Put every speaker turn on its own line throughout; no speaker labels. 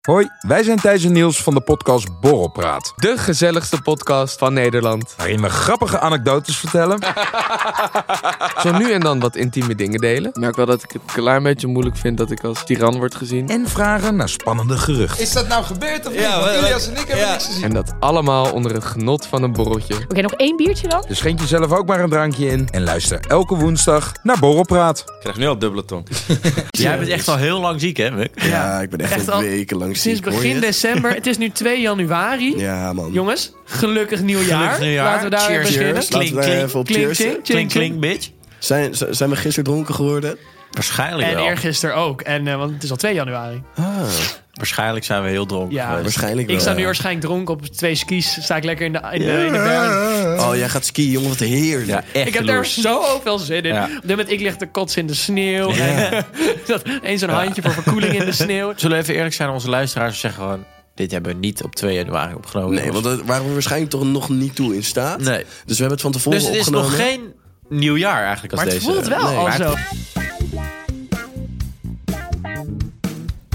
Hoi, wij zijn Thijs en Niels van de podcast Borrelpraat.
De gezelligste podcast van Nederland.
Waarin we grappige anekdotes vertellen.
Zo nu en dan wat intieme dingen delen. Ik merk wel dat ik het een klein beetje moeilijk vind dat ik als tiran word gezien.
en vragen naar spannende geruchten.
Is dat nou gebeurd of niet?
Ja,
Want
wat-
Ilias en ik hebben
ja.
niks gezien.
En dat allemaal onder het genot van een borreltje.
Oké, nog één biertje dan?
Dus schenk jezelf ook maar een drankje in. En luister elke woensdag naar Borrelpraat.
Ik krijg nu al dubbele tong.
Jij bent echt al heel lang ziek, hè, Muk?
Ja, ik ben echt,
Echt
al
al-
wekenlang ziek.
Sinds
hoor je
begin
het?
december. Het is nu 2 januari.
Ja, man.
Jongens, gelukkig nieuwjaar.
Gelukkig nieuwjaar.
Laten we daar
Cheers.
weer beginnen.
Cheers.
Laten
klink,
we
klink,
even op
Klink,
cheers.
klink, klink,
Kling, kling, bitch.
Zijn, z- zijn we gisteren dronken geworden?
Waarschijnlijk
En
wel.
eergisteren ook. En, eh, want het is al 2 januari.
Waarschijnlijk zijn we heel dronken
Ja,
geweest.
Waarschijnlijk wel.
Ik sta nu
ja.
waarschijnlijk dronken op twee skis. Sta ik lekker in de, in de, in de bergen.
Oh, jij gaat skiën, jongen. Wat heerlijk.
Ja, echt
Ik heb daar
jaloers.
zoveel zin in.
Ja.
Op dit moment, ik lig te kotsen in de sneeuw. En, dat, eens een handje voor verkoeling in de sneeuw.
Zullen we even eerlijk zijn aan onze luisteraars en zeggen gewoon... Dit hebben we niet op 2 januari opgenomen.
Nee, want daar waren we waarschijnlijk toch nog niet toe in staat.
Nee.
Dus we hebben het van tevoren
Dus het is
opgenomen.
nog geen nieuwjaar eigenlijk als
eh, Maar het
deze.
voelt wel
Nee,
al
maar
zo.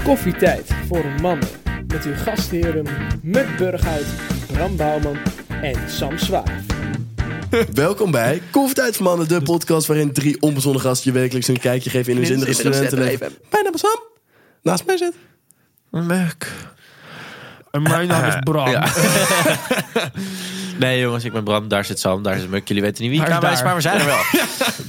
Koffietijd voor mannen. Met uw gastheren Muk Burghuis, Bram Bouwman en Sam Zwaar.
Welkom bij Koffietijd van Mannen, de podcast waarin drie onbezonnen gasten je wekelijks een kijkje geven in hun zinnige studentenleven. Bijna Sam. Naast mij zit.
Muk.
En mijn naam is Bram.
Ja. nee, jongens, ik ben Bram. Daar zit Sam, daar zit Muk. Jullie weten niet wie
Hij is
het is,
daar.
maar we zijn er wel.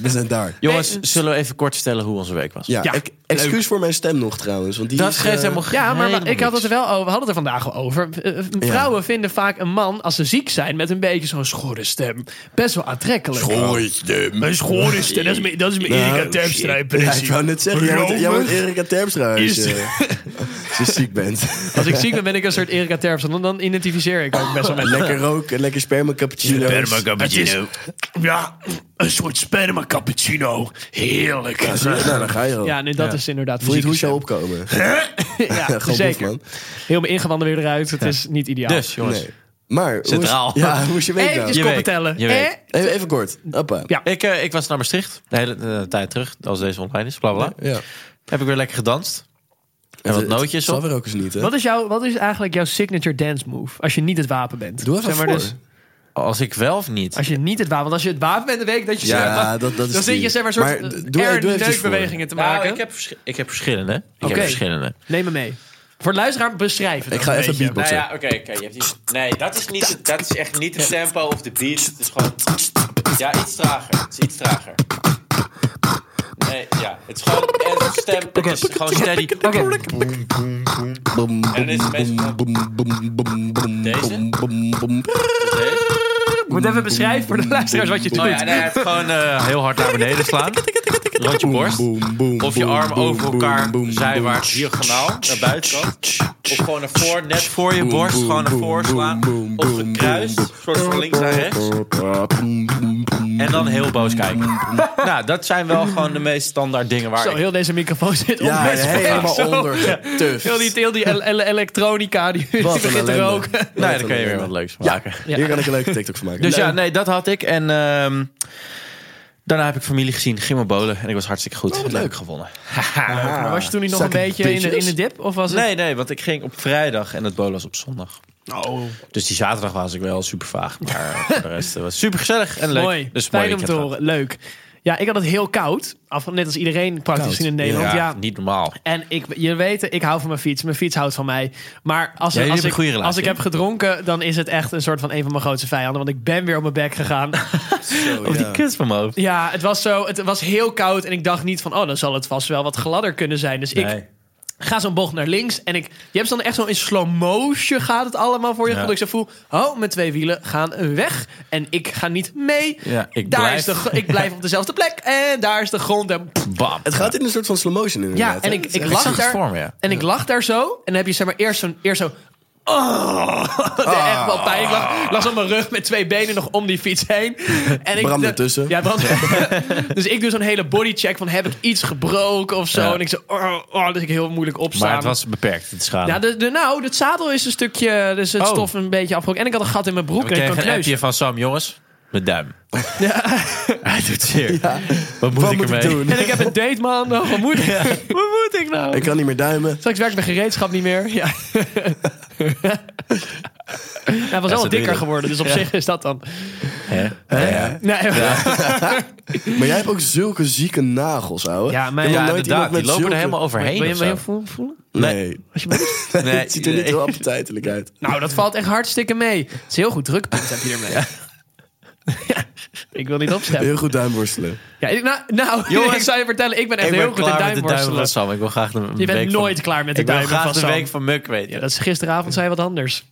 We zijn daar.
Jongens,
Nee,
zullen we even kort vertellen hoe onze week was? Dus,
Ja,
Ja,
ex- excuus voor mijn stem nog trouwens. Want die
Dat
is,
geeft
eh,
helemaal
Ja, maar,
helemaal
ik had het
niks.
er wel over. We hadden het er vandaag al over. Eh, eh, Vrouwen vinden vaak een man, als ze ziek zijn, met een beetje zo'n schorre stem, best wel aantrekkelijk.
Gooi stem.
Een schorre stem, dat is mijn, dat is mijn Erika Terpstra
Nou, Oh, Ja, ik
impressie.
wou net zeggen, jij wordt, jij wordt
Romig.
Erika Terpstra als
Is-
je, als je ziek bent.
Als ik ziek ben, ben ik een soort Erika Terpstra. Dan, dan identificeer ik ook best wel met
Lekker roken, lekker sperma cappuccino.
Ja, een soort sperma cappuccino. Heerlijk.
Nou, dan ga je al.
Ja, nee, dat is inderdaad
Voel je het
fysieke
hoe jou opkomen?
stem. Ja,
Gewoon boef,
zeker.
man.
Heel mijn ingewanden weer eruit. Het is niet ideaal.
Dus, jongens.
Nee. Maar, hoe is,
Centraal.
ja, hoe is je week nou?
Eventjes
Je
koppen
weet,
tellen.
je weet.
Eh?
Even, even kort. Appa.
Ja.
Ik, eh, ik was naar Maastricht, de hele eh, tijd terug, als deze online is, bla bla. bla.
Ja.
Heb ik weer lekker gedanst. En wat
Het- het
nootjes
Zal
op.
weer ook eens niet, hè?
Wat is, jouw, wat is eigenlijk jouw signature dance move? Als je niet het wapen bent.
Doe even
Zeg maar
voor.
dus,
Als ik wel of niet.
Als je niet het wapen... Want als je het wapen bent, dan weet ik dat je...
Ja,
zeg maar-
dat- dat is
Dan zit je
die.
zeg maar een soort
Maar d-
eh,
doe-
er-
doe eventjes
neukbewegingen te
Nou,
maken.
ik, heb verschi- ik heb verschillende. Ik
Oké.
heb verschillende.
Neem me mee. Voor de luisteraar, beschrijf het.
Ik
ook
ga
een
even
beetje.
beatboxen.
nou oké. nee, dat is, niet, dat is echt niet het tempo of de beat. Het is gewoon... Ja, iets trager. Het is iets trager. Nee, ja. Het is gewoon... En stem, het is gewoon steady.
Boom,
En is het
boom,
meestal-
boom, boom, boom, boom,
Deze?
boom, boom, boom.
Moet even beschrijven voor de luisteraars wat je doet.
Oh ja, nee, het gewoon eh, heel hard naar beneden slaan. Rond je borst.
Boom, boom,
Of je
boom,
arm
boom,
over
boom,
elkaar,
boom, boom,
zijwaarts,
boom.
diagonaal, naar buitenkant. Of gewoon naar voor, net voor je
Boom,
borst,
boom,
gewoon naar
boom,
voren slaan.
boom,
Of
boom,
gekruist,
boom,
soort van links naar rechts. En dan heel boos kijken. Nou, dat zijn wel gewoon de meest standaard dingen waar
Zo,
ik...
heel deze microfoon zit
Ja,
onbest
helemaal
Zo.
onder. Tuft.
Heel die, heel die ele- ele- elektronica die die
Wat een
begint te
ellende.
roken.
Nee,
Wat
daar
een
kun je weer
ellende.
wat leuks van maken.
Hier kan ik een leuke TikTok van maken.
Dus ja, nee, dat had ik. En ehm, daarna heb ik familie gezien, ging mijn bolen. En ik was hartstikke goed. leuk. gewonnen.
Maar was je toen niet nog een
Zakken
beetje in de, in
bitches.
de dip? Of was het...
Nee, nee, want ik ging op vrijdag en het bolen was op zondag.
Oh.
Dus die zaterdag was ik wel super vaag. Maar eh, voor de rest eh, was het super gezellig en leuk.
Mooi.
Dus mooi
Fijn om
weekend
te
gehad.
horen. Leuk. Ja, ik had het heel koud. Af, net als iedereen praktisch
Koud.
in Nederland.
Ja,
Ja.
niet normaal.
En ik, je weet, ik hou van mijn fiets. Mijn fiets houdt van mij. Maar als,
jullie
als,
hebben
ik,
een goede relatie,
als ik
hè?
heb gedronken, dan is het echt een soort van een van mijn grootste vijanden. Want ik ben weer op mijn bek gegaan.
Oh,
Of die kut van mijn hoofd.
ja, het was zo. Het was heel koud. En ik dacht niet van, oh, dan zal het vast wel wat gladder kunnen zijn. Dus ik ga zo'n bocht naar links. En ik, je hebt dan echt zo in slow motion gaat het allemaal voor je.
Ja.
gevoel. Ik zo voel, oh, mijn twee wielen gaan weg. En ik ga niet mee.
Ja, ik
daar
blijf.
Is de, gr- ik blijf op dezelfde plek. En daar is de grond. En,
Bam.
Het gaat in een soort van slow motion inderdaad.
ja, en
hè?
ik,
Het
ik
is echt-
zag
lag
het
daar.
voor me, ja.
En ik lag daar zo. En dan heb je zeg maar eerst, zo'n, eerst zo... Oh, dat deed echt wel pijn. Ik lag, lag zo op mijn rug met twee benen nog om die fiets heen. En ik,
Bram
de-
ertussen.
Ja, Bram. dus ik doe zo'n hele bodycheck van heb ik iets gebroken of zo.
Ja.
En ik zo... Oh, oh, dus ik heel moeilijk opstaan.
Maar het was beperkt, het schade.
Ja, de, de, nou, het zadel is een stukje, dus het
Oh.
stof een beetje afgebroken. En ik had een gat in mijn broek
we
en ik
kregen
kon
een
kneus.
appje van Sam, jongens. Met duim. het doet zeer. Wat moet
Wat
ik
moet ik
ermee?
doen?
En ik heb een date maandag. Wat moet ik, wat moet ik nou?
Ik kan niet meer duimen.
Straks werkt mijn gereedschap niet meer. Ja. Hij was
zo
wel
doe je
dikker
dat.
geworden, dus op zich is dat dan.
Hè? Ja.
Nee,
Maar jij hebt ook zulke zieke nagels, ouwe.
Ja, maar
Ik heb nog
ja,
Ja,
nooit
inderdaad.
iemand met
Die lopen er
zulke-
helemaal overheen.
Wil je
of
me
zo.
heel voelen? voelen?
Nee,
Nee,
het ziet er niet heel appetijtelijk uit.
Nou, dat valt echt hartstikke mee. Het is een heel goed drukpunt heb je ermee. Ja. Ik wil niet opstemmen.
Heel goed duimworstelen.
Ja, ik- nou, nou
Jongen,
ik zou je vertellen, ik ben echt
Ik ben
heel goed in
klaar met de duim van
duimworstelen.
Sam. Ik wil graag de een
Je
week
bent
van-
nooit klaar met de
Ik wil
duim
graag
van
de
Sam.
week van Muk weten.
Ja, dat is gisteravond zei wat anders.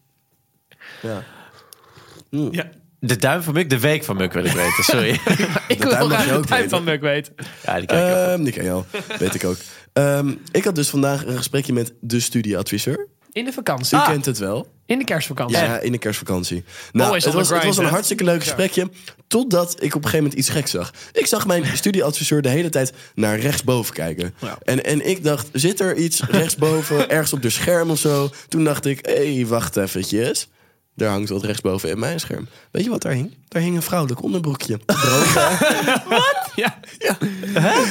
Mm.
De duim van Muk, de week van Muk wil ik weten. Sorry.
Ik wil wel
duim mag
graag
je ook
de duim
weten.
van Muk weten.
ja, die kijk ik op.
Ehm die ken je al. Weet ik ook. Ehm, ik had dus vandaag een gesprekje met de studieadviseur.
In de
U
vakantie.
Ah.
kent het wel.
In de kerstvakantie.
Ah. Ja, in de kerstvakantie. Nou,
Always
het
on
was,
the
het was
grind,
een
hè?
hartstikke leuk gesprekje. Totdat ik op een gegeven moment iets geks zag. Ik zag mijn studieadviseur de hele tijd naar rechtsboven kijken. En, en ik dacht, zit er iets rechtsboven, ergens op de scherm of zo? Toen dacht ik, hé, hey, wacht eventjes. Daar hangt wat rechtsboven in mijn scherm. Weet je wat daar hing? Daar hing een vrouwelijk onderbroekje. Droog, hè?
Ja.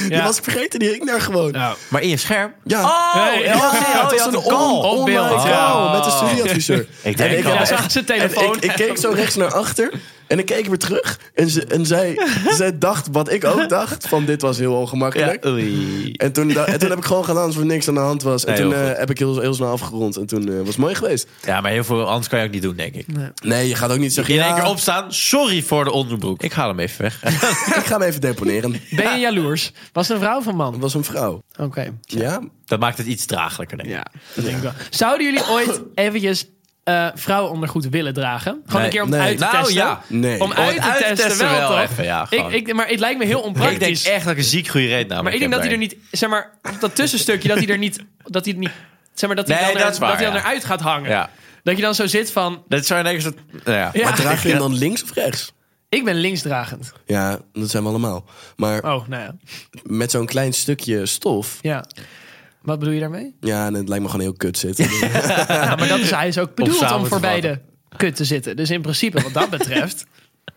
Die was ik vergeten, die hing daar gewoon.
Nou.
Maar in je scherm?
Ja.
Hey,
oh, ja,
Ja,
oh,
het
je
was
had
een
een call.
on-
Op beeld.
online
Oh.
call met de studieadviseur.
Ik
En
denk al.
Ja,
echt-
zag zijn
En
telefoon.
ik, ik keek zo rechts naar achter en ik keek weer terug. En, ze, en zij, zij dacht wat ik ook dacht, van dit was heel
Ja,
ongemakkelijk.
oei.
En toen, da- en toen heb ik gewoon gedaan alsof er niks aan de hand was. En
Nee,
toen
heel
eh,
goed.
heb ik heel, heel snel afgerond. En toen eh, was het mooi geweest.
Ja, maar heel veel anders kan je ook niet doen, denk ik.
Nee, je gaat ook niet zeggen,
In één
ja,
keer opstaan, sorry voor de onderbroek. Ik haal hem even weg.
ik ga hem even deponeren.
Ben je jaloers? Was het een vrouw of een man?
Het was een vrouw.
Oké.
Ja?
Dat maakt het iets draaglijker, denk ik.
Ja, dat denk ik wel. Zouden jullie ooit eventjes eh vrouwenondergoed willen dragen? Gewoon
Nee.
een keer om
Nee.
het uit te
Nou,
testen.
ja.
Nee.
Om uit te
uit te
testen,
testen
wel,
wel
toch?
even, ja,
ik,
gewoon.
ik, maar het lijkt me heel
Ik
onpraktisch.
denk echt dat ik een ziek goede reden namelijk
maar ik denk
heb
dat hij er
daarin.
niet... Zeg maar, op dat tussenstukje dat hij er niet... Dat hij het niet... Zeg maar, dat hij
Nee,
dan, er-
dat is waar,
dat hij dan
ja.
eruit gaat hangen.
Ja.
Dat je dan zo zit van...
Dat zou in één keer zo... nou ja.
Ja,
Maar draag je hem dan links of rechts?
ik ben linksdragend.
Ja, dat zijn we allemaal. Maar
Oh, nou ja.
met zo'n klein stukje stof...
ja. Wat bedoel je daarmee?
Ja, en het lijkt me gewoon heel kut zitten.
Ja, maar dat is, hij is ook bedoeld
samen
om
te
voor
vatten.
beide kut te zitten. Dus in principe, wat dat betreft...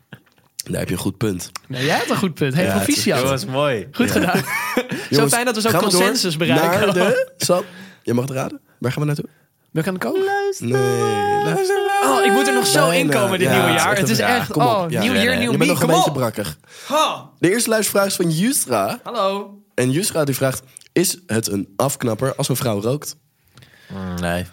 Daar heb je een goed punt.
nou, jij had een goed punt. Heel
Ja,
veel
het is-
proficiat.
Dat was mooi.
Goed gedaan.
Jongens,
zo fijn dat we zo'n
gaan door
consensus bereiken.
Naar de... Sam, jij mag het raden. Waar gaan we naartoe?
We gaan komen.
Nee,
Oh, ik moet er nog zo inkomen dit
Ja,
nieuwe
het is
jaar.
echt
Het is
een- ja,
echt,
kom op.
oh,
Ja,
nieuw jaar,
ja,
nieuw
Je bent
me.
nog een
Kom
beetje
op.
brakkig. De eerste luistervraag is van Justra.
Hallo.
En Justra die vraagt... Is het een afknapper als een vrouw rookt?
Nee.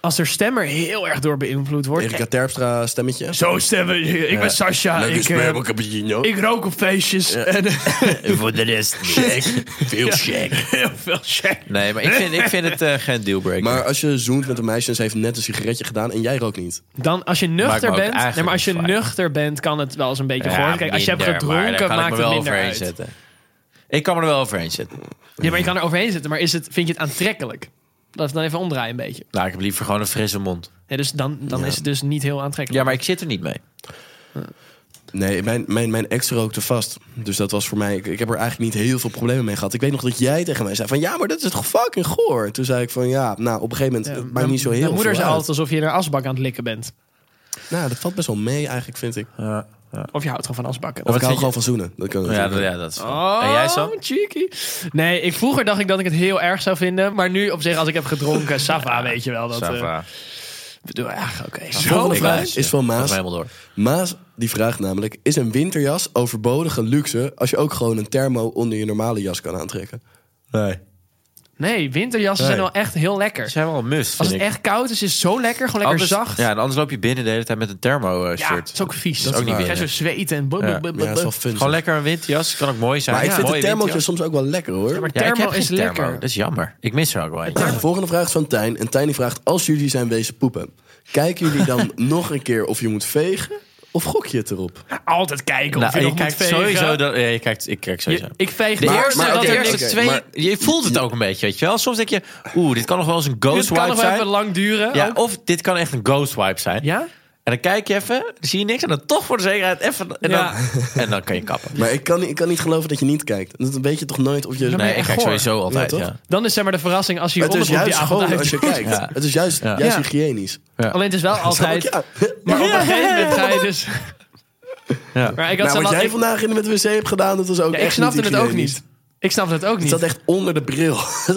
Als haar stemmer heel erg door beïnvloed wordt.
Erika Terpstra stemmetje.
Zo stemmen. Ik ben Sascha. Ik, eh,
cappuccino.
ik rook op feestjes. En eh,
Voor de rest
Veel check.
heel veel shit.
Nee, maar ik vind, ik vind het eh, geen dealbreaker.
Maar als je zoent met een meisje en ze heeft net een sigaretje gedaan en jij rookt niet.
Dan als je
Maakt me
nuchter
ook
bent. Nee,
eigenlijk
maar als je
niet fijn.
nuchter bent, kan het wel eens een beetje gehoord. Kijk, als je hebt
minder, maar daar
gedronken,
kan ik
maakt
me
het
wel
minder
overheen
uit.
zetten. Ik kan me er wel overheen zetten.
Ja, maar je kan er overheen zitten. Maar is het, vind je het aantrekkelijk? Dat dan even omdraaien een beetje.
Nou, ik heb liever gewoon een frisse mond.
Ja, dus dan, dan is het dus niet heel aantrekkelijk.
Ja, maar ik zit er niet mee.
Nee, mijn, mijn, mijn ex rookte vast. Dus dat was voor mij... Ik, ik heb er eigenlijk niet heel veel problemen mee gehad. Ik weet nog dat jij tegen mij zei van... Ja, maar dat is toch fucking goor? Toen zei ik van... Ja, nou, op een gegeven moment... het maakt niet zo heel
Mijn moeder
veel
zei
uit.
altijd alsof je een asbak aan het likken bent.
Nou, dat valt best wel mee eigenlijk, vind ik.
Of je houdt gewoon van asbakken.
Of ik hou
vind
gewoon van zoenen. Dat kan
Ja,
natuurlijk.
dat, ja, dat is
Oh,
En jij Sam?
cheeky. Nee, ik, vroeger dacht ik dat ik het heel erg zou vinden. Maar nu op zich, als ik heb gedronken, Sava, weet je wel. Dat, eh,
Sava.
bedoel, ja, oké.
Volgende
Ik
vraag
luister.
is van
Dat is
Maas.
helemaal door.
Maas die vraagt namelijk: Is een winterjas overbodige luxe als je ook gewoon een thermo onder je normale jas kan aantrekken?
Nee.
Nee, winterjassen zijn
Nee.
wel echt heel lekker.
Ze zijn wel een must,
Als
vind
het
ik.
echt koud is, is het zo lekker. Gewoon lekker
anders,
zacht.
Ja, en anders loop je binnen de hele tijd met een
Ja,
thermo-shirt.
het is ook vies.
Dat is ook niet
Ga je zo
meer.
zweten en... blub,
Ja.
blub, blub,
Ja, dat is wel
blub.
fun.
Gewoon
zeg.
lekker een windjas. Kan ook mooi zijn.
Maar ik
Ja,
vind de
mooie
thermotjes
windjas.
soms ook wel lekker
Maar
hoor.
Ja, ik heb
thermo
geen
is
thermo.
lekker.
Dat is jammer. Ik mis er ook wel een.
De volgende vraag is van Tijn. En Tijn die vraagt: Als jullie zijn wezen poepen, kijken jullie dan nog een keer of je moet vegen? Of gok je het erop?
Altijd kijken of
Nou,
je
je
nog moet
kijkt
vegen.
sowieso... Dat, ja, je kijkt, ik kijk
Je-
sowieso.
ik veeg
De
maar-
eerste,
maar
dat
oké,
de
oké.
eerste twee...
maar-
je voelt het ook een beetje, weet je wel. Soms denk je, oeh, dit kan nog wel eens een
Dit
ghost
kan
wipe
nog wel even
zijn.
lang duren.
Ja,
ook.
of dit kan echt een ghost wipe zijn.
ja?
En dan kijk je even, dan zie je niks. En dan toch voor de zekerheid even... En,
Ja.
dan, en dan kan je kappen.
Maar ik kan, niet- ik kan niet geloven dat je niet kijkt. Dat weet je toch nooit of je.
ben je
dus- Nee, ik
echt
kijk
goor.
sowieso altijd,
Ja,
ja.
toch?
Dan is zeg maar de verrassing als je je
het is
onderbroek die
juist
avond
gewoon
uit
als je kijkt.
Ja.
Het is juist,
Ja.
juist
Ja.
hygiënisch.
Alleen het is wel
Snap Nou, ik?
altijd...
Ja.
Maar op een gegeven moment ga je dus... Maar ik had
Nou,
Maar
zo
wat
last-
jij
ik-
vandaag in met wc hebt gedaan, dat was ook
ja,
echt
ik snapte
niet
het ook
hygiënisch.
niet. Ik snapte het ook
Het
niet.
zat echt onder de bril.
En,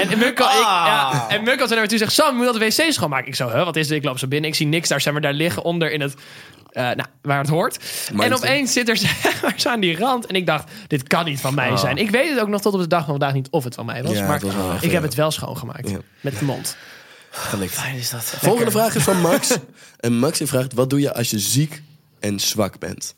en Muk had, ik, ja, en Muk had er naar me toe gezegd... Sam, je moet dat wc schoonmaken. Ik zo, huh, wat is dit? Ik loop zo binnen. Ik zie niks daar. Zeg maar, daar liggen onder in het... eh, nou, waar het hoort. En opeens zit er zeg maar, zo aan die rand. En ik dacht, dit kan niet van mij zijn. Ik weet het ook nog tot op de dag van vandaag niet of het van mij was.
Ah. Ja,
maar
het was wel echt,
ik heb
ja.
het wel schoongemaakt.
Ja.
Met de mond.
Volgende vraag is van Max. En Max die vraagt, wat doe je als je ziek en zwak bent?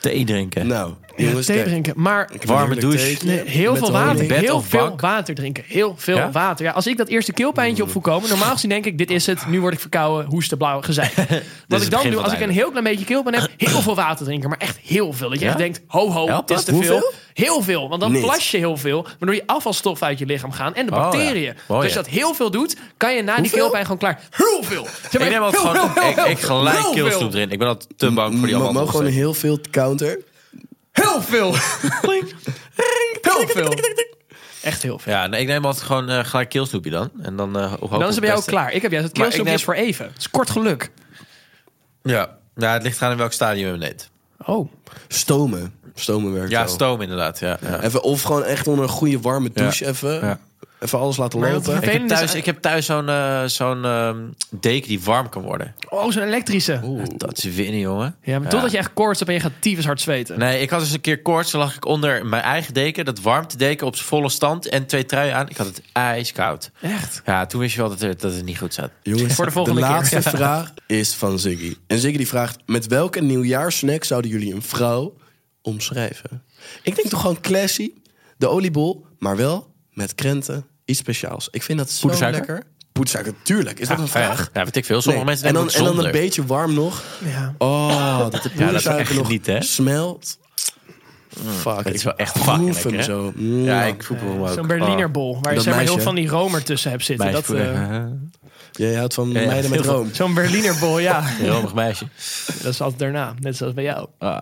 Thee drinken.
Nou, jongens,
Thee
kijk,
drinken. Maar
ik heb een
Warme
heerlijk
douche.
theetje
Eh, heel
met
veel
de honing.
water.
bed
Heel
of
veel
bank?
water drinken. Heel veel
Ja? Mm.
water. Ja, als ik dat eerste keelpijntje op voel komen... Normaal gezien denk ik, dit is het. Nu word ik verkouden, hoesten, blauw, gezeik.
het
Wat ik dan
begin
doe,
van
als
het
ik een heel klein beetje keelpijn heb... heel veel water drinken. Maar echt heel veel. Dat je
Ja?
echt denkt, ho ho,
Helpt
het is
dat?
te veel.
Hoeveel?
Heel veel. Want dan
Niet.
plas je heel veel. Waardoor je afvalstoffen uit je lichaam gaan. En de
Oh, ja.
bacteriën. dus
Oh,
als
ja.
je dat heel veel doet... kan je na die
Hoeveel?
keelpijn gewoon klaar. Heel veel. Zeg maar,
Ik neem ook
heel, heel,
gewoon...
heel,
Ik,
heel,
ik gelijk
heel veel.
keelstoep erin. Ik ben al te bang voor die
We mogen gewoon
allemaal.
heel veel counter.
Heel veel. heel veel. Echt heel veel.
Ja, nee, ik neem altijd gewoon eh, gelijk keelstoepje dan. En dan eh, hoop
Dan
op
is
het
het bij jou ook
beste.
klaar. Ik heb juist het
Maar ik
keelstokje
neem-
is voor even. Het is kort geluk.
Ja. ja, het ligt eraan in welk stadium je hem neemt.
Oh.
Stomen. Stomen werkt
Ja,
wel.
stoom inderdaad. Ja, ja.
Even, of gewoon echt onder een goede warme douche even.
Ja.
Even alles laten
Maar dat-
lopen.
Ik heb
Vervelend is
thuis,
aan-
ik heb thuis zo'n eh, zo'n ehm, deken die warm kan worden.
Oh, zo'n elektrische.
Dat is winnen, jongen.
Ja, maar totdat je echt koorts hebt en je gaat tyfus hard zweten.
Nee, ik had dus een keer koorts. Toen lag ik onder mijn eigen deken, dat warmtedeken op zijn volle stand en twee truien aan. Ik had het ijskoud.
Echt.
Ja, toen wist je wel dat het, dat het niet goed zat.
Jongens,
Voor de volgende keer.
laatste vraag is van Ziggy. En Ziggy die vraagt: met welke nieuwjaarsnack zouden jullie een vrouw omschrijven? Ik denk toch gewoon classy, de oliebol, maar wel met krenten, iets speciaals. Ik vind dat zo
Poedersuiker?
lekker. Poedersuiker, tuurlijk. Is dat een vraag?
Ja, ja, weet ik veel. Sommige
Nee.
mensen
en,
nemen
dan,
het
en
zonder.
dan een beetje warm nog.
Ja.
Oh, dat de poedersuiker
echt
nog
niet, hè?
smelt. Fuck,
Het is wel echt
ik
fucking
proef
lekker.
hem
hè?
zo.
Ja, ik voel hem ook.
Zo'n Berliner bol. Waar je
Dat
zeg maar heel
meisje.
van die romer tussen hebt
Oh,
zitten.
meisje
Dat,
voelen.
eh,
Jij houdt van
ja,
meiden met
heel veel.
room.
zo'n Berliner bol, ja.
Een romig meisje.
Dat is altijd daarna. Net zoals bij jou.
Oh,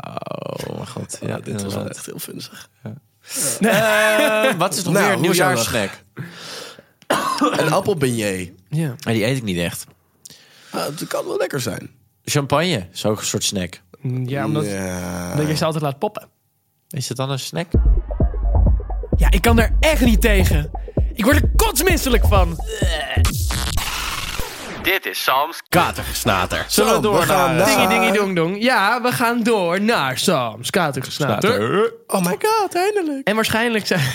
mijn god. Ja,
Oh, Dit was wel echt heel funzig.
Eh, wat is nog
Nou,
meer een
hoe is jouw
nieuwjaarsnack?
Een appelbeignet.
Ja.
Maar die eet ik niet echt.
Ah, dat kan wel lekker zijn.
Champagne is ook een soort snack.
Ja, omdat,
Ja.
omdat je ze altijd laat poppen.
Is dat dan een snack?
Ja, ik kan er echt niet tegen. Ik word er kotsmisselijk van.
Dit is Sam's
Katergesnater.
Zullen we
Zo, we
door
gaan
naar...
naar-
Dingy dingy dong dong. Ja, we gaan door naar Sam's Katergesnater.
Oh my god, eindelijk.
En waarschijnlijk zijn.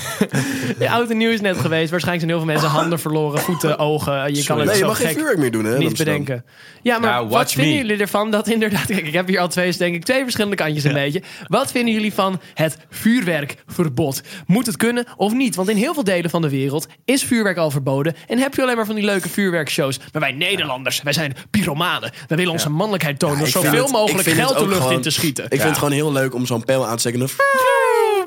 de oud en nieuw is net geweest. Waarschijnlijk zijn heel veel mensen handen verloren, voeten, ogen. Je kan het
Nee, je
zo
mag geen
gek
vuurwerk meer doen, hè? in
niet
Amsterdam.
bedenken. Ja, maar
Nou,
wat
watch
vinden
me.
jullie ervan dat inderdaad. Kijk, ik heb hier al twee, dus denk ik, twee verschillende kantjes een beetje. Wat vinden jullie van het vuurwerkverbod? Moet het kunnen of niet? Want in heel veel delen van de wereld is vuurwerk al verboden. En heb je alleen maar van die leuke vuurwerkshows. Maar wij Nederlanders, wij zijn pyromanen. Wij willen onze mannelijkheid tonen door
Ik vind
zoveel
het-
mogelijk
ik vind het
geld de
ook
lucht
gewoon-
in te schieten.
Ik vind het gewoon heel leuk om zo'n pijl aan te steken. en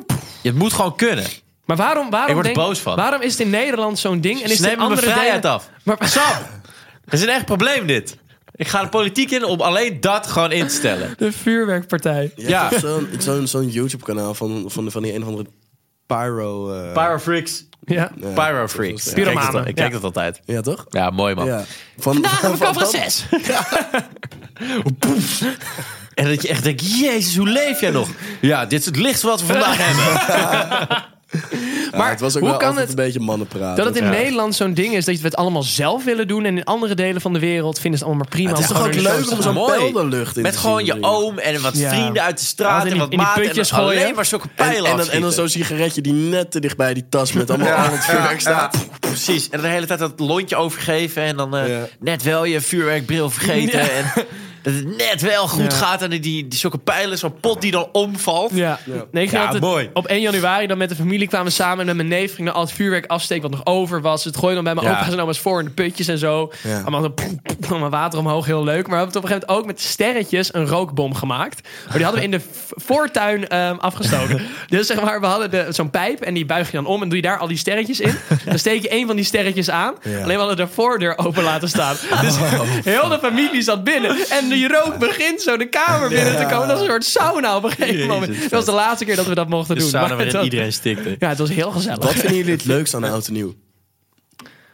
dan-
Het moet gewoon kunnen.
Maar waarom, waarom,
Ik word er
denk-
boos van.
Waarom is het in Nederland zo'n ding en is
Ze
het in
nemen mijn
andere
vrijheid
delen...
af.
Maar,
Sam, dat is een echt probleem dit. Ik ga de politiek in om alleen dat gewoon in te stellen.
de vuurwerkpartij.
Je
Ja.
hebt toch Zo'n zo'n zo'n YouTube-kanaal van, van, van die een of andere pyro... eh,
Pyrofreaks.
Ja.
eh,
Pyrofreaks. Ik kijk dat
Pyromanen,
al- Ik kijk
ja.
dat altijd.
Ja, toch?
Ja, mooi man.
Ja. Van,
Vandaag heb ik
van-
reces.
En dat je echt denkt, jezus, hoe leef jij nog? Ja, dit is het licht wat we vandaag hebben.
Ja, het was ook
hoe
wel
kan
altijd
het-
een beetje mannenpraat.
Dat het in
Ja.
Nederland zo'n ding is dat we het allemaal zelf willen doen. En in andere delen van de wereld vinden ze het allemaal maar prima.
Het is
om
toch ook
gewoon in de
leuk
shows
om
te
zo'n
Mooi.
pijl de lucht in
Met
te
gewoon
zien
je
vliegen.
oom en wat
Ja.
vrienden uit de straat.
Altijd in
En
die- in
wat
die
maten. En
putjes
dan
gooien.
alleen maar zulke
En,
pijlen
en, dan, en dan
afschieten.
zo'n sigaretje die net te dicht bij die tas met allemaal al het vuurwerk staat.
Precies. En de hele tijd dat lontje overgeven. En dan eh,
Ja.
net wel je vuurwerkbril vergeten. En dat het net wel goed gaat. En die, die, die zulke pijlen, zo'n pot die dan omvalt.
doen. Ja. Nee, ik ging
Ja,
altijd-
mooi.
Op 1 januari dan met de familie kwamen we samen. En met mijn neef ging dan al het vuurwerk afsteken wat nog over was. Het gooide dan bij mijn
Ja.
opa's en oma's voor in de putjes en zo.
Ja.
Allemaal zo poep, poep, allemaal water omhoog, heel leuk. Maar we hebben op een gegeven moment ook met sterretjes een rookbom gemaakt. Maar die hadden we in de v- voortuin ehm, afgestoken. dus zeg maar, we hadden de- zo'n pijp en die buig je dan om en doe je daar al die sterretjes in. Dan steek je één van die sterretjes aan. Alleen we hadden de voordeur open laten staan. Dus
Oh.
heel de familie zat binnen. En die rook begint zo de kamer binnen te komen. Dat is een soort sauna op een gegeven moment. Dat was de laatste keer dat we dat mochten
Dus
doen.
samen
Maar
waarin
dat-
iedereen stikte.
Ja, het was heel gezellig.
Wat vinden jullie het leukst aan oud en nieuw?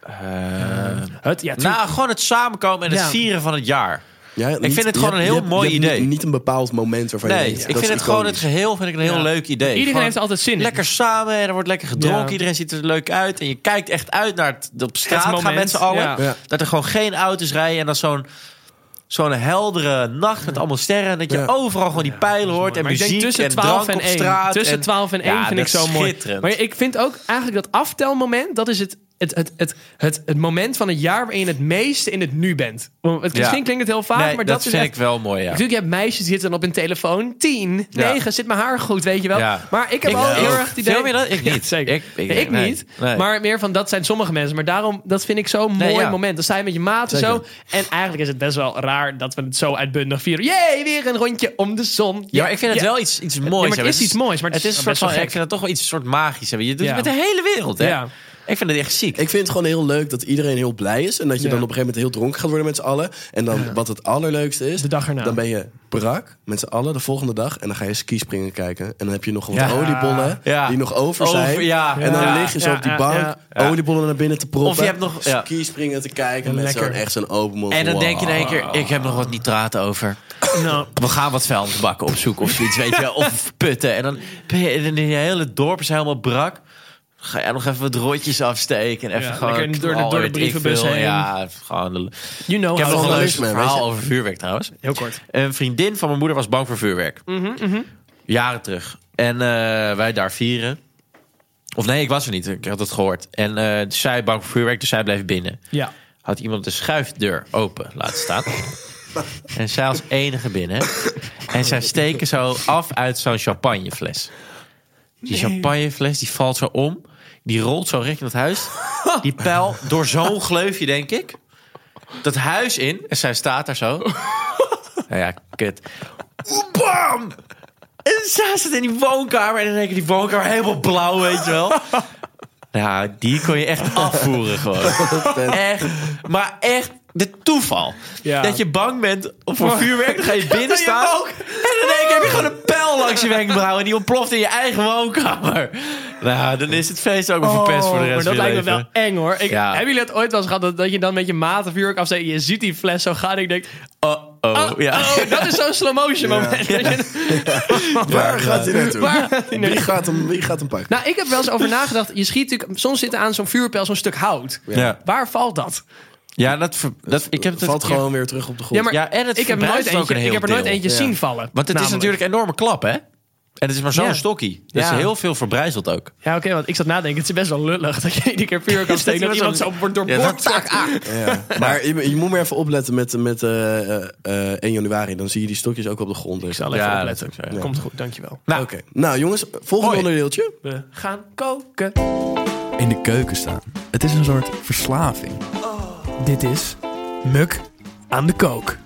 Het, ja, tuurlijk.
Eh, Nou, gewoon het samenkomen en het
Ja.
vieren van het jaar.
Ja, niet-
vind het
je
gewoon
hebt-
een heel
je hebt-
mooi
je hebt
idee.
Niet, niet een bepaald moment waarvan je
Nee,
denkt...
ik
dat
vind
is
het gewoon het
iconisch.
geheel vind ik een heel
Ja.
leuk idee.
Iedereen
Gewoon
heeft er altijd zin in.
Lekker samen en er wordt lekker gedronken.
Ja.
Iedereen ziet er leuk uit. En je kijkt echt uit naar het, op straat gaan
moment,
met z'n allen.
ja.
Ja.
Dat er gewoon geen auto's rijden. En dan zo'n zo'n heldere nacht met allemaal sterren. En dat je
Ja.
overal gewoon die pijlen hoort. En
Maar ik
muziek
denk tussen
en
12
drank
en
op
1.
straat.
Tussen
en-
12 en 1
Ja,
vind ik
dat
zo
is
mooi.
schitterend.
Maar ik vind ook eigenlijk dat aftelmoment, dat is het, het, het, het, het, het moment van het jaar waarin je het meeste in het nu bent. Want het- Misschien
Ja.
klinkt het heel vaak,
Nee,
maar
dat,
dat, is
vind
echt-
ik wel mooi, ja.
Natuurlijk, je hebt meisjes die zitten dan op hun telefoon. 10,
Ja.
9, zit mijn haar goed, weet je wel.
Ja.
Maar ik heb
Ik
al
wel.
heel erg het idee...
Film je dat? Ik
Ja,
niet.
zeker.
Ik-
Ik,
ik- nee.
niet.
Nee.
Maar meer van, dat zijn sommige mensen. Maar daarom, dat vind ik zo'n
Nee,
mooi
ja.
moment. Dan sta je met je maten
Zeker.
zo. En eigenlijk is het best wel raar dat we het zo uitbundig vieren. Jee, weer een rondje om de zon.
Ja, maar ik vind het
Ja.
wel iets, iets moois.
maar het
hebben.
is iets moois, maar het is
een
best
soort van,
wel gek.
Ik vind het toch wel iets soort magisch hebben. Je doet
Ja.
het met de hele wereld, hè?
Ja.
Ik vind het echt ziek.
Ik vind het gewoon heel leuk dat iedereen heel blij is. En dat je
Ja.
dan op een gegeven moment heel dronken gaat worden met z'n allen. En dan wat het allerleukste is.
De dag erna.
Dan ben je brak met z'n allen de volgende dag. En dan ga je skispringen kijken. En dan heb je nog wat
Ja.
oliebollen
Ja.
die nog over zijn.
Over, ja.
En dan
Ja.
lig je zo
Ja,
op die
ja,
bank
ja.
oliebollen naar binnen te proppen.
Of je hebt nog- ja.
skispringen te kijken met
Lekker.
zo'n echt zo'n open mond.
En dan denk je in één
Wow.
keer, ik heb nog wat nitraten over.
Nou,
We gaan wat vuilnisbakken opzoeken of zoiets, weet je wel. Of putten. En dan ben je, dan je hele dorp is helemaal brak. Dan Ga jij nog even wat rotjes afsteken. En even
Ja,
gewoon
lekker door de-
knallen,
door de
weet ik
brievenbus
veel.
heen.
Ja, gewoon... de-
you know
Ik heb
how
nog
it
een leuk
goes.
vandalisme, weet
verhaal
je.
over vuurwerk trouwens.
Heel kort.
Een vriendin van mijn moeder was bang voor vuurwerk. Jaren terug. En eh, wij daar vieren. Of nee, ik was er niet. Ik had het gehoord. En eh zij bang voor vuurwerk, dus zij bleef binnen.
Ja.
Had iemand de schuifdeur open laten staan. en zij als enige binnen. En zij steken zo af uit zo'n champagnefles. Die champagnefles die valt zo om. Die rolt zo richting het huis. Die pijl door zo'n gleufje, denk ik. Dat huis in. En zij staat daar zo. Nou ja, kut. Bam! En zij zit in die woonkamer. En dan denk ik, die woonkamer helemaal blauw, weet je wel. Nou, die kon je echt afvoeren gewoon. Echt, maar echt de toeval.
Ja.
Dat je bang bent voor vuurwerk. Dan ga je binnen staan. En dan denk ik, heb je gewoon een pijl langs je wenkbrauw. En die ontploft in je eigen woonkamer. Nou, dan is het feest ook weer verpest voor de
Oh, maar
rest
dat
van je
lijkt me wel
leven.
eng hoor. Ik,
Ja.
Hebben jullie het ooit wel eens gehad dat, dat je dan met je maat een vuurwerk afzet en je ziet die fles zo gaan en ik denk,
Oh, ja.
oh, dat is zo'n slow motion moment.
Waar gaat hij naartoe?
Waar-
Wie gaat hem, wie gaat hem pakken?
Nou, ik heb wel eens over nagedacht. Je schiet natuurlijk, soms zit er aan zo'n vuurpijl zo'n stuk hout.
Ja,
Waar valt dat?
ja dat, ver- dat, ik heb het
Valt
een keer-
gewoon weer terug op de grond.
maar
Ja, en het
ik heb,
verbruist
nooit
ook
eentje,
een
ik
heel
heb er nooit
deel.
eentje zien vallen.
Want het
namelijk.
is natuurlijk een enorme klap, hè? En het is maar zo'n
Ja.
stokkie. Dus
Ja.
heel veel verbrijzeld ook.
Ja, oké, want ik zat nadenken. Het is best wel lullig dat je iedere keer vuurwerk kan steken. dat
Dat
iemand
iemand
zo wordt doorboord.
Ja, dat-
wordt.
Ja. Maar je, je moet maar even opletten met, met eh, eh, eh, 1 januari. Dan zie je die stokjes ook op de grond. liggen.
Zal even
Ja,
opletten.
dat is ook zo, ja.
Komt goed, dankjewel.
Oké, nou jongens, volgende
Hoi.
onderdeeltje.
We gaan koken.
in de keuken staan. Het is een soort verslaving. Dit is Muk aan de kook.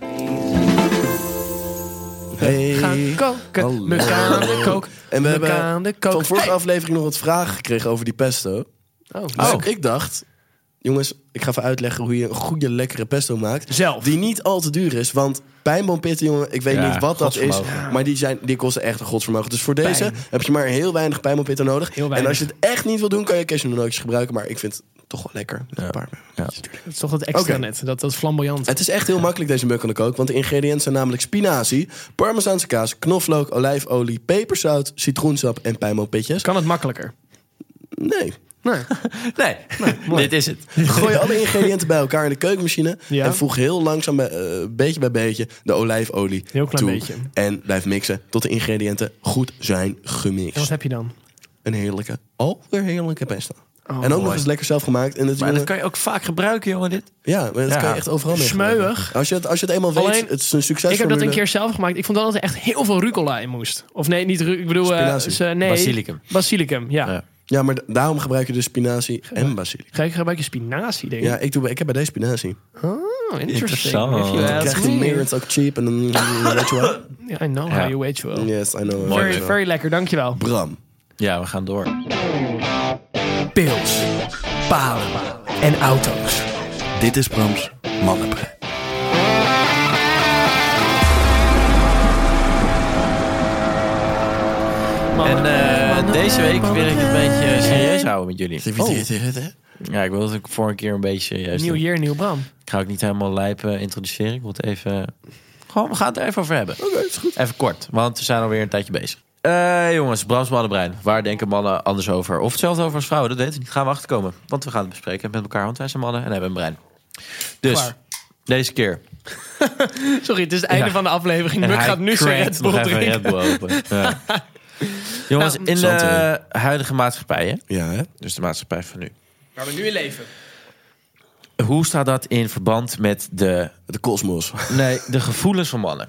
Hey.
Gaan
Hallo.
Oh,
koken. We gaan de kook.
En we
Muk aan de
hebben
kook.
van vorige
Hey.
aflevering nog wat vragen gekregen over die pesto.
Oh,
Dus ik dacht, jongens, ik ga even uitleggen hoe je een goede lekkere pesto maakt.
Zelf.
Die niet al te duur is, want pijnboompitten, jongen, ik weet
Ja,
niet wat dat is.
godsvermogen.
Maar die, zijn, die kosten echt een godsvermogen. Dus voor deze
Pijn.
heb je maar heel weinig pijnboompitten nodig.
Heel
En
weinig.
als je het echt niet wil doen, kan je cashewnootjes gebruiken. Maar ik vind het toch wel lekker. met een paar
Dat is toch dat extra
Oké.
net. Dat, dat flamboyant.
Het is echt heel makkelijk deze muk aan de kook, want de ingrediënten zijn namelijk spinazie, parmezaanse kaas, knoflook, olijfolie, peperzout, citroensap en pijnboompitjes.
Kan het makkelijker?
Nee.
Nou.
Nee.
Nee, dit is het.
Gooi alle ingrediënten bij elkaar in de keukenmachine
Ja.
en voeg heel langzaam, bij, eh, beetje bij beetje, de olijfolie
Heel klein
toe.
beetje.
En blijf mixen tot de ingrediënten goed zijn
En wat
gemixt.
heb je dan?
Een heerlijke, alweer heerlijke pesto.
Oh,
en ook nog eens lekker zelf gemaakt. En dat,
Maar dat
jongen-
kan je ook vaak gebruiken, jongen, dit.
ja, maar dat
Ja.
kan je echt overal mee.
Smeuig.
gebruiken. Als je het, als je het eenmaal
Alleen,
weet, het is een succes.
Ik heb dat een keer zelf gemaakt. Ik vond wel dat er echt heel veel rucola in moest. Of nee, niet ru- Ik bedoel... eh,
Spinazie.
ze- nee.
Basilicum.
Basilicum, ja.
Ja.
Ja, maar da- daarom gebruik je dus spinazie en basilie.
Ga ik gebruik je spinazie, denk ik.
Ja, ik, doe, ik heb bij deze spinazie.
Oh, interesting.
Interessant.
If you
Je
ask
Krijgt die
me.
meer, het is ook cheap. En dan weet je wel.
Yeah, I know
Ja.
how you wait well.
Yes, I know.
Mooi.
Very, very lekker, dankjewel.
Bram.
Ja, we gaan door.
Pils, palen en auto's. Dit is Brams Mannenbrein.
En eh, deze week wil ik een beetje serieus houden met jullie.
Oh.
Ja, ik wil het voor een keer een beetje serieus
Nieuw
doen.
jaar, nieuw Bram.
Ik ga ook niet helemaal lijp eh, introduceren. Ik wil het even... Gewoon, we gaan het er even over hebben. Oké, is goed. Even kort, want we zijn alweer een tijdje bezig. Eh jongens, Brams Mannenbrein. Waar denken mannen anders over? Of hetzelfde over als vrouwen, dat weten we niet. Gaan we achterkomen. Want we gaan het bespreken met elkaar, want wij zijn mannen en hebben een brein. Dus,
Klaar.
deze keer.
Sorry, het is het einde
Ja.
van de aflevering.
En
Muk
hij
gaat nu zijn
crankt
Red
nog
Bull
even
drinken.
Red Bull open. Ja. Jongens, in de
Zanterin.
huidige maatschappij, hè?
Ja, hè?
dus de maatschappij van nu.
Waar we nu in leven.
Hoe staat dat in verband met de,
De kosmos.
nee, de gevoelens van mannen?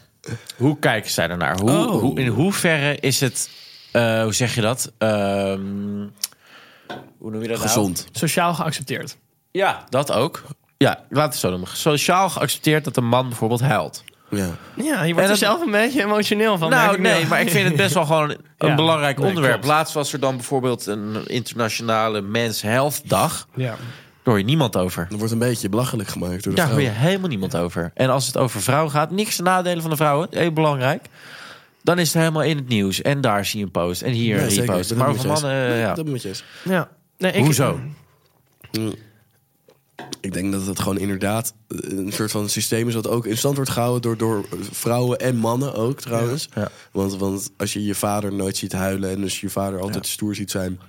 Hoe kijken zij daarnaar? Hoe,
Oh.
hoe, in hoeverre is het, eh, hoe zeg je dat? Ehm, hoe noem je dat nou?
Gezond.
Sociaal geaccepteerd.
Ja, dat ook. Ja, laten we het zo noemen. Sociaal geaccepteerd dat een man bijvoorbeeld huilt.
Ja.
Ja, je wordt
dat-
er zelf een beetje emotioneel van. merk
nou,
ik nu
nee,
al.
maar ik vind het best wel gewoon een
Ja.
belangrijk
Nee,
onderwerp.
klopt.
Laatst was er dan bijvoorbeeld een internationale Men's Health Dag.
Ja.
Daar hoor je niemand over.
Er wordt een beetje belachelijk gemaakt door de
Daar hoor
vrouw.
je helemaal niemand over. En als het over vrouwen gaat, niks te nadelen van de vrouwen, heel belangrijk. Dan is het helemaal in het nieuws. En daar zie je een post. En hier
Ja,
een
zeker.
repost.
Dat
Maar
moet
over
je eens.
mannen, eh, ja.
Dat moet je eens.
ja. Nee, ik,
Hoezo?
Ik denk dat het gewoon inderdaad een soort van systeem is... dat ook in stand wordt gehouden door, door vrouwen en mannen ook trouwens.
Ja.
Want, want als je je vader nooit ziet huilen... en dus je vader altijd stoer ziet zijn...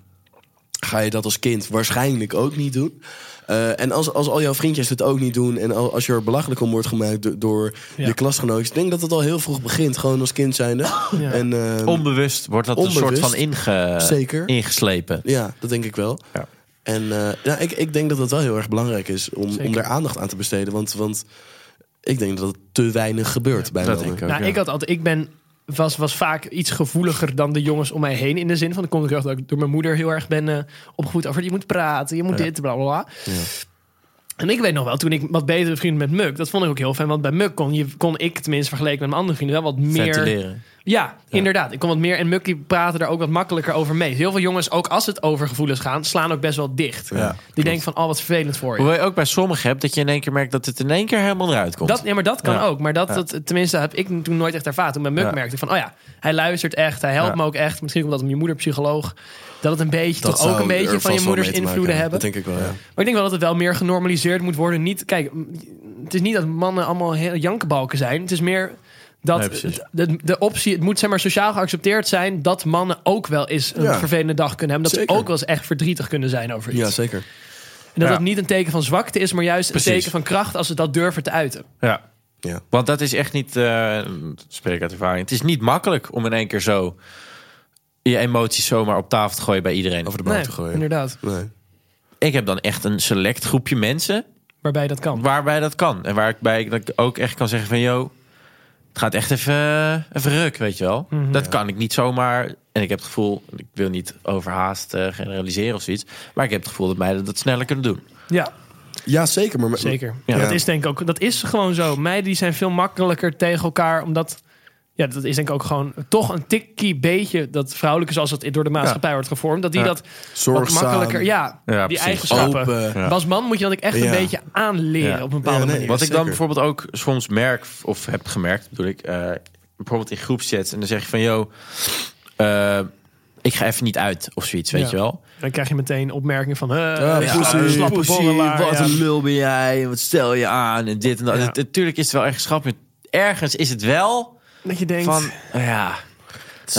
ga je dat als kind waarschijnlijk ook niet doen. Eh, en als, als al jouw vriendjes het ook niet doen... en al- als je er belachelijk om wordt gemaakt do- door
Ja.
je klasgenootjes... ik denk dat het al heel vroeg begint, gewoon als kind zijnde. En, eh,
Onbewust wordt dat een soort
Onbewust.
van inge...
Zeker.
ingeslepen.
Ja, dat denk ik wel.
Ja.
En eh, ja, ik, ik denk dat het wel heel erg belangrijk is om, om daar aandacht aan te besteden. Want, want ik denk dat het te weinig gebeurt bij
Dat
mannen.
denk ik ook.
Nou,
ja.
ik had altijd, ik ben, was, was vaak iets gevoeliger dan de jongens om mij heen. In de zin van, dat komt ook echt dat ik door mijn moeder heel erg ben eh, opgevoed over je moet praten, je moet dit, bla bla bla. En ik weet nog wel, toen ik wat betere vrienden met Muk, dat vond ik ook heel fijn. Want bij Muk kon, je, kon ik tenminste vergeleken met mijn andere vrienden wel wat meer
Ventileren.
ja, inderdaad. Ik kom wat meer en Mucky praten daar ook wat makkelijker over mee. Dus Heel veel jongens, ook als het over gevoelens gaan, slaan ook best wel dicht. Die denken van, oh, wat vervelend voor je.
Hoewel je ook bij sommigen hebt dat je in één keer merkt dat het in één keer helemaal eruit komt.
Dat, ja, maar dat kan
Ja.
ook. Maar dat, dat, tenminste, heb ik toen nooit echt ervaren. Toen bij Muk
Ja.
merkte ik van, oh ja, hij luistert echt. Hij helpt
Ja.
me ook echt. Misschien omdat mijn moeder psycholoog. Dat het een beetje, toch
zou
ook een
er
beetje
vast
van je
wel
moeders
mee te maken
invloeden hebben.
Dat denk ik wel, ja.
Maar ik denk wel dat het wel meer genormaliseerd moet worden. Niet, kijk, m- het is niet dat mannen allemaal heel jankenbalken zijn. Het is meer dat
Nee, precies.
het- de, de optie, het moet zeg maar sociaal geaccepteerd zijn dat mannen ook wel eens een
Ja.
vervelende dag kunnen hebben. Dat
Zeker.
ze ook wel eens echt verdrietig kunnen zijn over iets.
Ja, zeker.
En dat
Ja.
het niet een teken van zwakte is, maar juist
Precies.
een teken van kracht als ze dat durven te uiten.
Ja.
Ja.
Want dat is echt niet, eh, dat spreek ik uit ervaring, het is niet makkelijk om in één keer zo je emoties zomaar op tafel te gooien bij iedereen.
Over de bank
Nee,
te gooien.
inderdaad.
Nee.
Ik heb dan echt een select groepje mensen
Waarbij dat kan.
waarbij dat kan. En waarbij ik dat ook echt kan zeggen van, yo, het gaat echt even, eh, even ruk, weet je wel.
Mhm.
Dat kan ik niet zomaar. En ik heb het gevoel, ik wil niet overhaast eh, generaliseren of zoiets. Maar ik heb het gevoel dat meiden dat sneller kunnen doen.
Ja,
Ja, zeker. Maar,
zeker.
Ja.
Dat is denk ik ook. Dat is gewoon zo. Meiden die zijn veel makkelijker tegen elkaar, omdat ja, dat is denk ik ook gewoon toch een tikkie beetje dat vrouwelijke zoals het door de maatschappij wordt gevormd, dat die
Ja.
dat wat
Zorgzaam,
makkelijker, ja,
Ja,
die
precies.
eigenschappen.
open.
Ja.
Als man moet je dat ook echt een
Ja.
beetje aanleren
Ja.
op een bepaalde
Ja, nee,
manier.
Wat ik dan
zeker.
bijvoorbeeld ook soms merk, of heb gemerkt, bedoel ik, eh, bijvoorbeeld in groepschats. En dan zeg je van, yo, eh, ik ga even niet uit of zoiets, weet
Ja.
je wel.
Dan krijg je meteen opmerkingen van, eh,
Ja,
ja,
pussy,
slappe borrelaar,
wat
ja.
een lul ben jij, wat stel je aan en dit en dat.
Ja.
Het- Natuurlijk is het wel echt grappig. Ergens is het wel
Dat je denkt,
van, ja, nou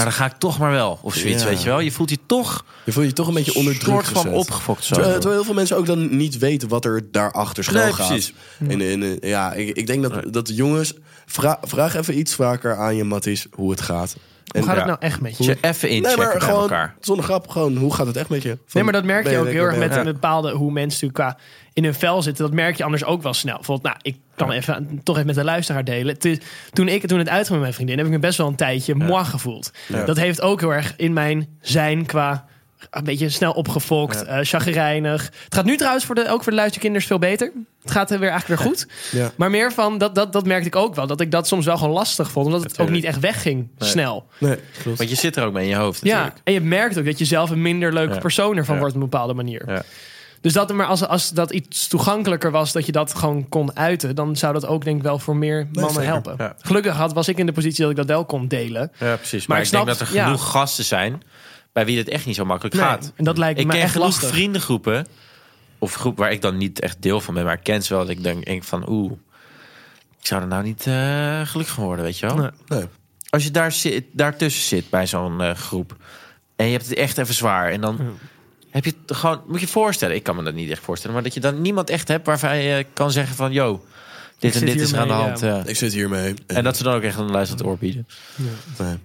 dan ga ik toch maar wel of zoiets,
Ja.
weet je wel. Je voelt je toch
Je voelt je toch een beetje onder druk
soort van
gezet.
opgefokt zo.
Terwijl, terwijl heel veel mensen ook dan niet weten wat er daarachter schuil
Nee,
gaat.
precies.
En, en, eh, ja, ik, ik denk dat, dat de jongens... Vra, vraag even iets vaker aan je, Matties, hoe het gaat.
hoe gaat
ja.
het nou echt met je?
je even
Nee,
inchecken
maar
bij
gewoon,
elkaar.
zonder grap, gewoon, hoe gaat het echt met je? Van,
Nee, maar dat merk
ben
je ook heel erg
lekker,
met
ben je-
een bepaalde hoe mensen natuurlijk qua in hun vel zitten. Dat merk je anders ook wel snel. Bijvoorbeeld, nou, ik kan even toch even met de luisteraar delen. Het is- toen ik toen het uitging met mijn vriendin, heb ik me best wel een tijdje moi gevoeld. Dat heeft ook heel erg in mijn zijn qua een beetje snel opgefokt, eh chagrijnig. Het gaat nu trouwens voor de, ook voor de luisterkinders veel beter. Het gaat er weer eigenlijk weer goed.
Ja.
Maar meer van, dat, dat, dat merkte ik ook wel. Dat ik dat soms wel gewoon lastig vond. Omdat het ook niet echt wegging snel.
Nee, klopt.
Want je zit er ook mee in je hoofd
Ja,
natuurlijk.
en je merkt ook dat je zelf een minder leuke
Ja.
persoon ervan
Ja.
wordt op een bepaalde manier.
Ja.
Dus dat, maar als, als dat iets toegankelijker was, dat je dat gewoon kon uiten, dan zou dat ook denk ik wel voor meer mannen
zeker.
helpen.
Ja.
Gelukkig had, was ik in de positie dat ik dat wel kon delen.
Ja, precies. Maar,
Maar
ik,
ik
denk
snap-
dat er
ja.
genoeg gasten zijn bij wie dit echt niet zo makkelijk gaat.
En dat lijkt
Ik
me
ken
echt
genoeg
lastig.
vriendengroepen of groep waar ik dan niet echt deel van ben, maar ik ken ze wel. Dat ik denk, denk van, oeh, ik zou er nou niet eh, gelukkig van worden, weet je wel?
Nee.
Als je daar zit, daartussen zit bij zo'n eh, groep en je hebt het echt even zwaar en dan heb je het gewoon, moet je je voorstellen, ik kan me dat niet echt voorstellen, maar dat je dan niemand echt hebt waarvan je eh, kan zeggen van, yo, dit en
zit
dit is er aan de
hiermee,
hand.
ja.
eh.
Ik zit hiermee.
en dat ze dan ook echt een luisterend oor bieden.
Nee.
Dat
Maar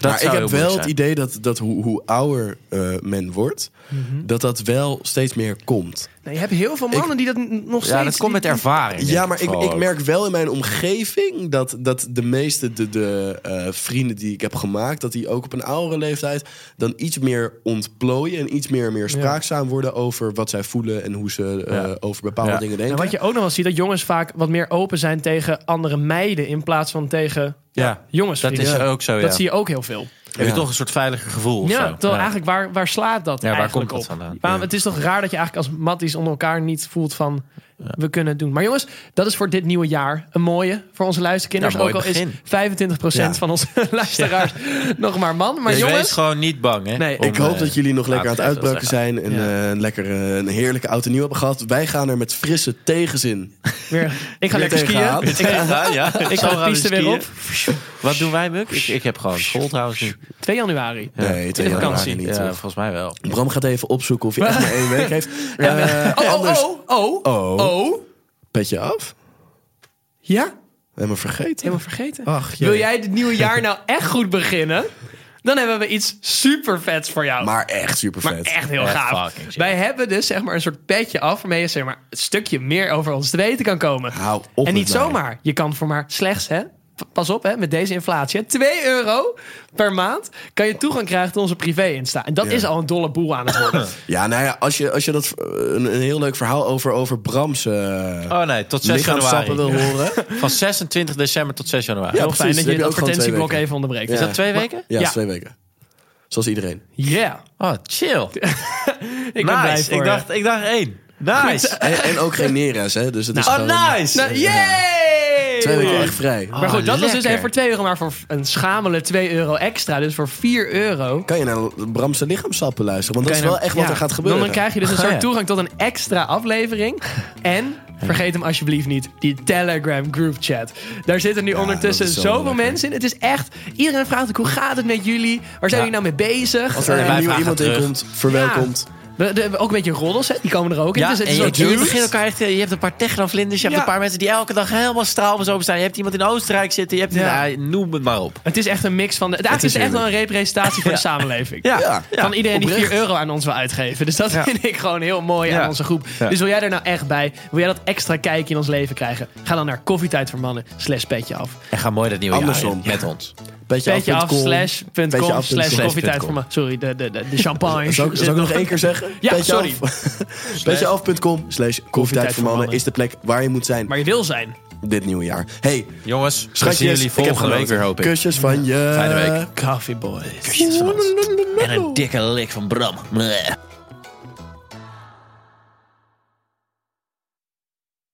Nou,
zou
ik heb
heel moeilijk
wel het
zijn.
idee dat, dat hoe, hoe ouder eh, men wordt,
Mhm.
dat dat wel steeds meer komt.
Nou, je hebt heel veel mannen die dat n- nog steeds...
Ja, dat komt met
die-
ervaring. denk
Ja, maar ik,
vooral
ik
ook.
merk wel in mijn omgeving dat, dat de meeste de, de, eh, vrienden die ik heb gemaakt, dat die ook op een oudere leeftijd dan iets meer ontplooien en iets meer, meer spraakzaam worden over wat zij voelen en hoe ze eh,
Ja.
over bepaalde
Ja.
dingen
En
denken.
wat je ook nog wel ziet, dat jongens vaak wat meer open zijn tegen andere meiden in plaats van tegen
Ja,
jongens.
dat is ook zo, ja.
Dat zie je ook heel veel.
Heb je
Ja.
toch een soort veiliger gevoel of
ja,
zo?
terwijl eigenlijk waar, waar slaat dat
Ja, waar
eigenlijk
komt dat
op?
vandaan?
Waarom- Het is toch raar dat je eigenlijk als matties onder elkaar niet voelt van... we kunnen het doen. Maar jongens, dat is voor dit nieuwe jaar een mooie voor onze luisterkinders.
Ja, mooi
ook al
begin.
is 25% van onze luisteraars nog maar man. Maar
Dus wees
jongens,
gewoon niet bang, hè? eh,
Nee.
Ik hoop dat jullie nog lekker aan het
laten we even
uitbroken zijn en eh, lekker eh, een heerlijke oud en nieuw hebben gehad. Wij gaan er met frisse tegenzin.
weer, ik ga
Weer
lekker skiën.
tegenaan.
Ik ga,
Ja, ja.
ik ga de piste weer op.
Wat doen wij, Muk? Ik, ik heb gewoon school trouwens nu.
2 januari.
Nee,
de vakantie.
niet.
Ja,
toch?
volgens mij wel.
Bram gaat even opzoeken of je echt maar één week heeft. Eh,
Oh, oh,
anders-
oh, oh,
Oh.
oh.
Petje af?
Ja?
Helemaal vergeten.
Helemaal vergeten.
Ach, jee.
Wil jij het nieuwe jaar nou echt goed beginnen? Dan hebben we iets super vets voor jou.
Maar echt super
Maar
vet.
echt heel
Echt
gaaf.
fucking sick.
Wij hebben dus zeg maar een soort petje af waarmee je zeg maar een stukje meer over ons te weten kan komen.
Hou op
en
met
niet
mij.
zomaar. Je kan voor maar slechts, hè, p- pas op hè, met deze inflatie, hè, 2 euro per maand kan je toegang krijgen tot onze privé Insta. En dat is al een dolle boel aan het worden.
Ja, nou ja, als je, als je dat, eh, een, een heel leuk verhaal over, over Brams eh
Oh nee, tot 6
lichaamstappen
januari.
wil horen.
Van 26 december tot 6 januari.
Ja.
heel fijn
precies.
dat
Dan
je
heb
het
je ook gewoon
advertentieblok
twee
even onderbreekt.
Ja.
Is
Is dat twee weken?
Ja,
Ja.
is twee weken. Zoals iedereen.
Yeah.
Oh, chill.
Ik ben blij
nice.
voor
Ik
je.
dacht, ik dacht één. Nice.
En, en ook geen Neres, hè. Dus het is
Oh,
gewoon
nice.
Nou, yay!
twee weken echt vrij.
Maar goed,
Ah,
dat was dus
lekker.
even voor 2 euro, maar voor een schamele 2 euro extra. Dus voor 4 euro
Kan je naar Bramse lichaamstappen luisteren? Want dat is
Kan je
wel
nou-
echt wat
ja,
er gaat gebeuren. Oh,
Dan krijg je dus een
Ah,
soort
ja.
toegang tot een extra aflevering. En vergeet hem alsjeblieft niet, die Telegram group chat. Daar zitten nu ondertussen
dat is zo
zoveel
lekker.
mensen in. Het is echt, iedereen vraagt ook hoe gaat het met jullie? Waar zijn
Ja.
jullie nou mee bezig?
Als er
Eh,
een nieuw
vragen
iemand in
terug.
komt, verwelkomd.
we, de- ook een beetje roddels, hè? die komen er ook in.
Ja,
dus het
en
is
je,
ook
en je
duur.
begint elkaar echt... Je hebt een paar technovlinders. Je hebt
Ja.
een paar mensen die elke dag helemaal straalbes open staan. Je hebt iemand in Oostenrijk zitten. Je hebt...
Ja.
Nou, noem het maar op.
Het is echt een mix van... De, het eigenlijk is
is
het echt wel een representatie voor de samenleving.
Ja.
Van iedereen die
oprecht.
4 euro aan ons wil uitgeven. Dus dat vind ik gewoon heel mooi
Ja.
aan onze groep.
Ja.
Dus wil jij er nou echt bij? Wil jij dat extra kijkje in ons leven krijgen? Ga dan naar koffietijd voor mannen slash petje af.
En ga mooi dat nieuwe jaar
Andersom.
in met ons.
Petje af
af.com.
slash punt
Petjeaf
com
punt
slash
com.
koffietijd voor mannen. Sorry, de, de, de, de champagne.
Zou ik, zou ik nog één keer zeggen?
Ja,
Petjeaf-
sorry.
Petjeaf.com slash koffietijd voor mannen
mannen.
is de plek waar je moet zijn
Maar je wil zijn.
dit nieuwe jaar. Hey,
Jongens, we zien
schatjes,
jullie
ik heb
volgende
genoten.
week weer, hoop ik.
Kusjes van je.
Eh, Fijne week.
Coffee boys.
En een dikke lik van Bram. Bleh.